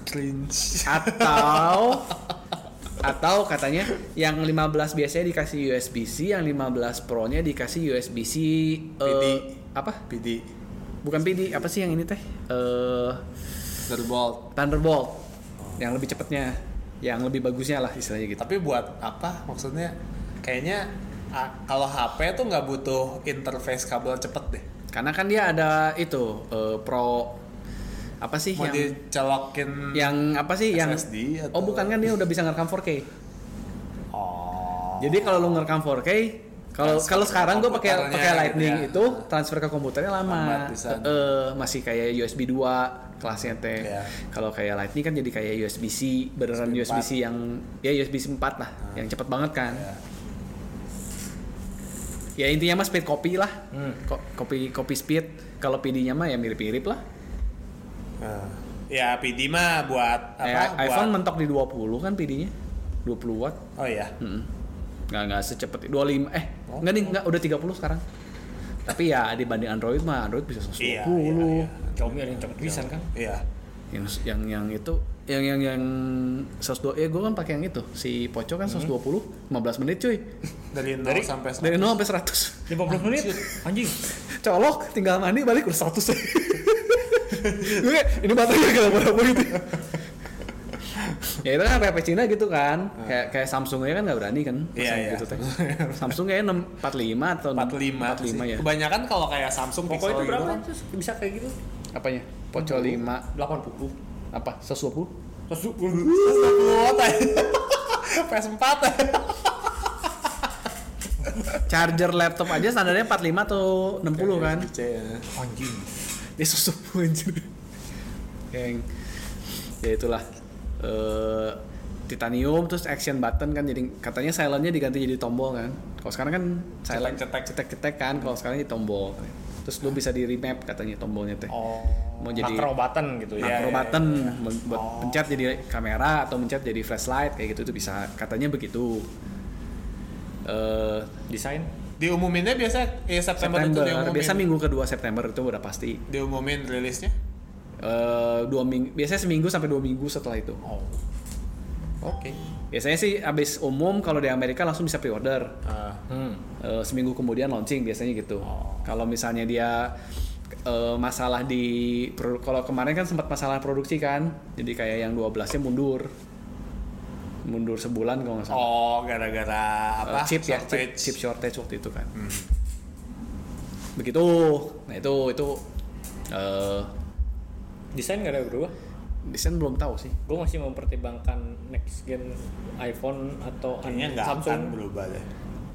S2: cringe.
S1: atau atau katanya yang 15 biasanya dikasih USB-C, yang 15 Pro-nya dikasih USB-C eh,
S2: PD.
S1: apa?
S2: PD
S1: Bukan PD, apa sih yang ini teh? Eh
S2: Thunderbolt.
S1: Thunderbolt. Yang lebih cepatnya, yang lebih bagusnya lah istilahnya gitu.
S2: Tapi buat apa maksudnya? Kayaknya a- kalau HP tuh nggak butuh interface kabel cepet deh.
S1: Karena kan dia ada itu eh, Pro apa sih
S2: Mau
S1: yang
S2: dicelokin
S1: yang apa sih yang
S2: SSD atau-
S1: Oh, bukan kan dia udah bisa ngerekam 4K.
S2: Oh.
S1: Jadi kalau lu ngerekam 4K, kalau
S2: Transfer
S1: kalau
S2: ke
S1: sekarang gue pakai
S2: komputernya
S1: pakai
S2: gitu
S1: Lightning
S2: ya.
S1: itu transfer ke komputernya
S2: Lambat
S1: lama.
S2: pisan.
S1: Eh, masih kayak USB 2 kelasnya teh.
S2: Iya.
S1: Kalau kayak Lightning kan jadi kayak USB-C, beneran
S2: USB
S1: USB-C yang ya USB-C 4 lah,
S2: Ah.
S1: yang cepet banget kan.
S2: Iya.
S1: Ya intinya mah speed copy lah.
S3: Hmm.
S1: Ko- Copy copy speed. Kalau PD-nya mah ya mirip-mirip lah.
S2: Nah. Ya PD mah buat apa?
S1: Eh, iPhone
S2: buat,
S1: mentok di 20 kan PD-nya. 20 watt.
S2: Oh iya.
S1: Mm-mm. Hmm. Nggak nggak secepat 25 eh
S2: Oh.
S1: nggak nih nggak udah 30 sekarang. Tapi ya dibanding Android mah Android bisa 120.
S2: Iya, iya, iya.
S3: Xiaomi ada yang cepet pisan kan
S2: Iya.
S1: Yang yang yang itu yang yang yang 120 ya gue kan pakai yang itu si Poco kan 120 15 menit cuy
S2: Dari 0
S3: Dari-
S2: Hmm. sampai 100.
S1: dari 0 sampai 100
S3: 50 menit anjing
S1: colok tinggal mandi balik udah 100 gue kayak, ini baterainya gak berapa gitu ya itu kan PP Cina gitu kan kayak kayak Samsung aja kan nggak berani kan
S2: Hmm. Iya,
S1: pasang
S2: iya.
S1: gitu teh Samsung kayak 6, 45 atau 45
S2: 45, sih.
S1: ya
S2: Kebanyakan kalau kayak Samsung
S3: pokoknya itu
S2: Pixel
S3: berapa
S2: kan.
S3: itu bisa kayak gitu
S1: apanya Poco 5
S3: 80
S1: apa 120
S3: 120
S2: Watt aja. PS4 aja.
S1: charger laptop aja standarnya 45 atau 60 kan
S2: USB-C ya.
S3: anjing
S1: dia 120 anjir yang ya itulah eh titanium terus action button kan jadi katanya silentnya diganti jadi tombol kan kalau sekarang kan silent
S2: Cetek-cetek.
S1: cetek-cetek kan kalau sekarang jadi tombol terus lu bisa di remap katanya tombolnya teh
S2: Oh.
S1: mau jadi
S3: macro button gitu
S1: macro
S3: ya
S2: iya, Oh. iya,
S1: Nah, button men- buat pencet jadi kamera atau mencet jadi flashlight kayak gitu tuh bisa katanya begitu eh
S3: desain
S2: Diumuminnya biasa eh September, itu
S1: September,
S2: diumumin.
S1: biasa minggu kedua September itu udah pasti
S2: diumumin rilisnya.
S1: Eh, dua minggu biasanya seminggu sampai dua minggu setelah itu
S2: Oh. Oke.
S1: biasanya sih abis umum kalau di Amerika langsung bisa pre-order
S2: Ah.
S3: hmm.
S1: Eh, seminggu kemudian launching biasanya gitu
S2: Oh.
S1: kalau misalnya dia eh, masalah di produ- kalau kemarin kan sempat masalah produksi kan jadi kayak yang 12 nya mundur mundur sebulan kalau nggak salah
S2: Oh, gara-gara apa?
S1: Eh, chip ya chip,
S2: shortage.
S1: chip shortage waktu itu kan
S2: Hmm.
S1: begitu nah itu itu eh
S3: desain nggak ada berubah
S1: desain belum tahu sih
S3: gue masih mempertimbangkan next gen iPhone atau
S2: Kayaknya nggak akan
S3: Samsung
S2: berubah deh.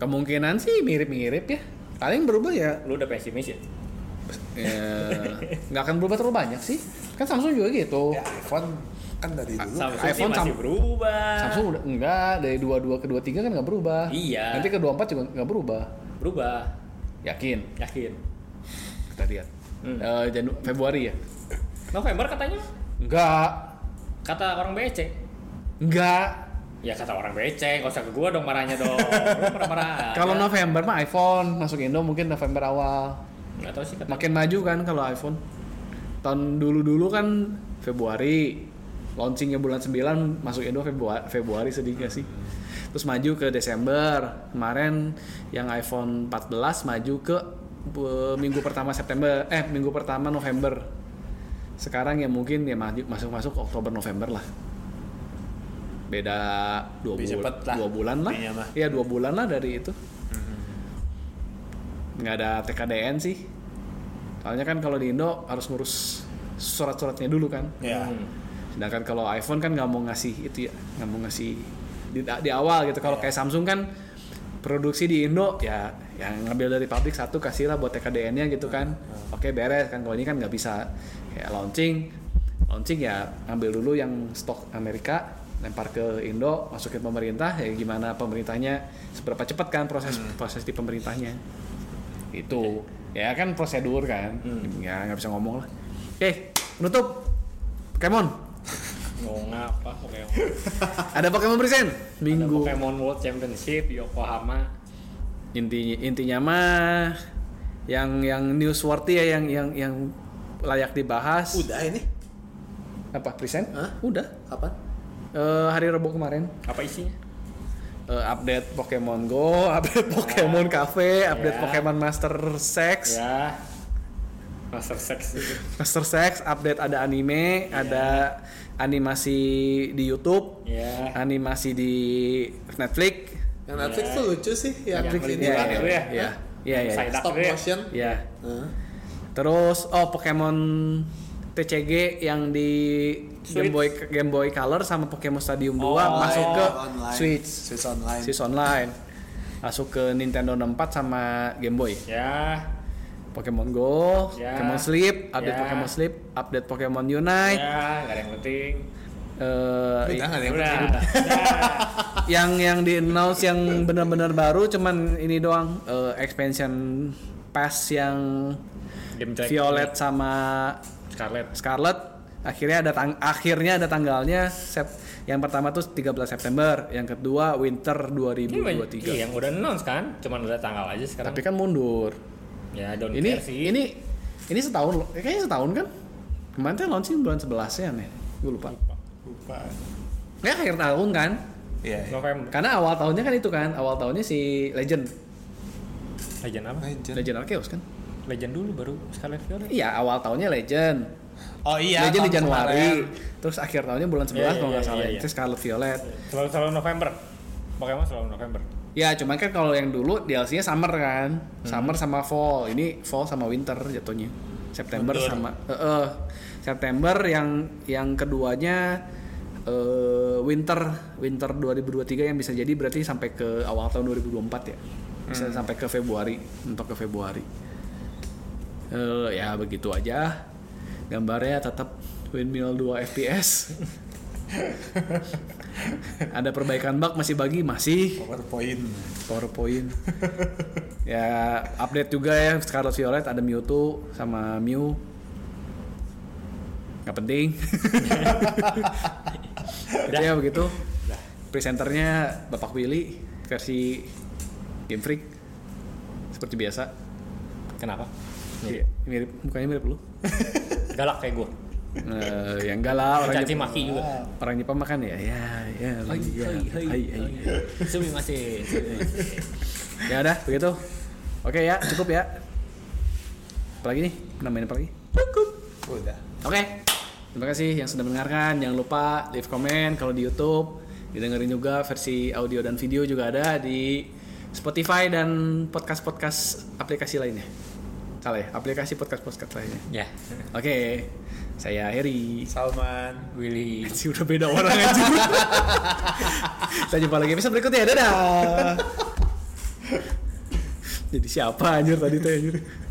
S1: kemungkinan sih mirip-mirip ya paling berubah ya
S3: lu udah pesimis ya
S1: Ya, nggak akan berubah terlalu banyak sih kan Samsung juga gitu
S2: Ya iPhone kan dari dulu.
S3: Samsung
S1: iPhone
S3: sih masih
S1: Ah, Sam-
S3: berubah
S1: Samsung udah enggak dari 22 ke 23 kan nggak berubah
S3: Iya.
S1: nanti ke 24 juga nggak berubah
S3: berubah
S1: yakin
S3: yakin
S1: kita lihat
S3: Hmm.
S1: Eh, Janu- Februari ya
S3: November katanya
S1: enggak
S3: kata orang BC
S1: enggak
S3: ya kata orang BC gak usah ke gua dong marahnya dong Lu marah-marah
S1: kalau November mah iPhone masuk Indo mungkin November awal
S3: nggak tahu sih kata
S1: makin maju kan kalau iPhone tahun dulu-dulu kan Februari launchingnya bulan 9 masuk Indo Februari, Februari sedih gak sih terus maju ke Desember kemarin yang iPhone 14 maju ke eh, minggu pertama September eh minggu pertama November sekarang ya mungkin ya maju masuk-masuk Oktober November lah beda dua,
S2: Lebih
S1: bul-
S2: cepet lah
S1: dua bulan lah
S2: intinya mah.
S1: iya dua bulan lah dari itu nggak ada TKDN sih soalnya kan kalau di Indo harus ngurus surat-suratnya dulu kan
S2: Ya.
S3: Hmm.
S1: sedangkan kalau iPhone kan nggak mau ngasih itu ya nggak mau ngasih di, di awal gitu kalau kayak Samsung kan produksi di Indo ya yang ngambil dari pabrik satu kasihlah buat TKDN-nya gitu kan oke beres kan kalau ini kan nggak bisa kayak launching launching ya ambil dulu yang stok Amerika lempar ke Indo masukin pemerintah ya gimana pemerintahnya seberapa cepat kan proses proses di pemerintahnya itu ya kan prosedur kan
S3: Hmm.
S1: ya nggak bisa ngomong lah oke penutup Pokemon
S3: nggak Hmm, apa Pokemon
S1: ada Pokemon present
S3: Ada
S1: minggu
S3: Pokemon World Championship Yokohama
S1: intinya intinya mah yang yang newsworthy ya yang yang yang layak dibahas
S2: Udah ini.
S1: apa present
S2: Hah?
S1: udah
S2: Kapan?
S1: Eh, hari Rabu kemarin
S3: apa isinya
S1: Eh, update Pokemon Go update Pokemon Cafe update
S3: Ya.
S1: Pokemon Master Sex
S3: ya Master Sex itu.
S1: Master Sex update ada anime ada animasi di YouTube
S3: ya
S1: animasi di Netflix
S2: Yang Netflix tuh lucu sih yang,
S3: Yang Iya,
S2: ini
S1: ya
S2: kan
S3: iya,
S1: ya
S3: iya.
S1: ya ya ya
S3: Side
S2: Stop
S3: Dark Red.
S2: motion.
S1: ya
S2: Heeh.
S1: Terus oh Pokemon TCG yang di Game
S3: Switch.
S1: Boy Game Boy Color sama Pokemon Stadium 2
S3: Oh,
S1: masuk ke
S2: online.
S1: Switch
S2: Switch online.
S1: Switch online. masuk ke Nintendo 64 sama Game Boy
S3: Ya,
S1: Pokemon Go
S3: Ya.
S1: Pokemon Sleep update
S3: Ya.
S1: Pokemon Sleep update Pokemon Unite
S3: ya, nggak ada yang penting.
S1: eh,
S2: Iya, Udah nggak ada yang
S3: Udah,
S2: penting.
S3: udah.
S1: yang yang di announce yang benar-benar baru cuman ini doang eh, expansion pass yang
S3: Game track.
S1: Violet sama
S3: Scarlet.
S1: Scarlet akhirnya ada tang- akhirnya ada tanggalnya Sep- yang pertama tuh 13 September yang kedua winter
S3: Ini banyak-
S1: 2023
S3: Iya, yang udah announce kan, cuman ada tanggal aja sekarang.
S1: tapi kan mundur
S3: ya, don't
S1: ini
S3: care sih.
S1: ini ini setahun loh Eh, kayaknya setahun kan kemarin tuh launching bulan 11 ya nih gue lupa
S2: Lupa.
S1: ya akhir tahun kan
S2: Iya. iya.
S3: November.
S1: karena awal tahunnya kan itu kan awal tahunnya si Legend
S3: Legend apa?
S2: Legend.
S1: Legend Arceus kan
S3: Legend dulu baru Scarlet Violet.
S1: iya awal tahunnya Legend
S2: Oh iya.
S1: Legend di
S2: tahun
S1: Januari
S2: kemarin.
S1: terus akhir tahunnya bulan 11
S3: Iya, iya,
S1: kalau nggak
S3: iya,
S1: salah
S3: iya,
S1: itu
S3: iya.
S1: Scarlet Violet
S3: Selalu selalu November. Pokemon selalu November.
S1: Ya, cuman kan kalau yang dulu DLC-nya summer kan. Summer sama fall. Ini fall sama winter jatuhnya. September
S2: Betul.
S1: sama eh eh. September yang yang keduanya eh winter winter 2023 yang bisa jadi berarti sampai ke awal tahun 2024 ya. Bisa sampai ke Februari, untuk ke Februari. Eh ya begitu aja. Gambarnya tetap windmill 2 FPS. Ada perbaikan bug masih bagi masih.
S2: PowerPoint.
S1: PowerPoint. ya update juga ya Scarlet Violet ada Mewtwo sama Mew. Gak penting. Itu ya begitu. Presenternya Bapak Willy versi Game Freak seperti biasa.
S3: Kenapa?
S1: Iya, mirip mukanya mirip lu.
S3: Galak kayak gue.
S1: Eh, ya enggak lah orang
S3: Caci
S1: Jepang,
S3: maki juga.
S1: orang Jepang makan ya. Ya, ya. ya, hai, hai.
S3: Sumi masih.
S1: ya udah begitu oke ya cukup ya apalagi nih nambahin apa lagi
S2: Udah.
S1: oke terima kasih yang sudah mendengarkan jangan lupa leave comment kalau di YouTube didengerin juga versi audio dan video juga ada di Spotify dan podcast-podcast aplikasi lainnya salah ya aplikasi podcast-podcast lainnya
S3: Ya,
S1: oke saya Heri
S2: Salman.
S3: Willy.
S1: sih udah beda orang aja saya jumpa lagi episode berikutnya dadah jadi siapa anjir tadi teh anjir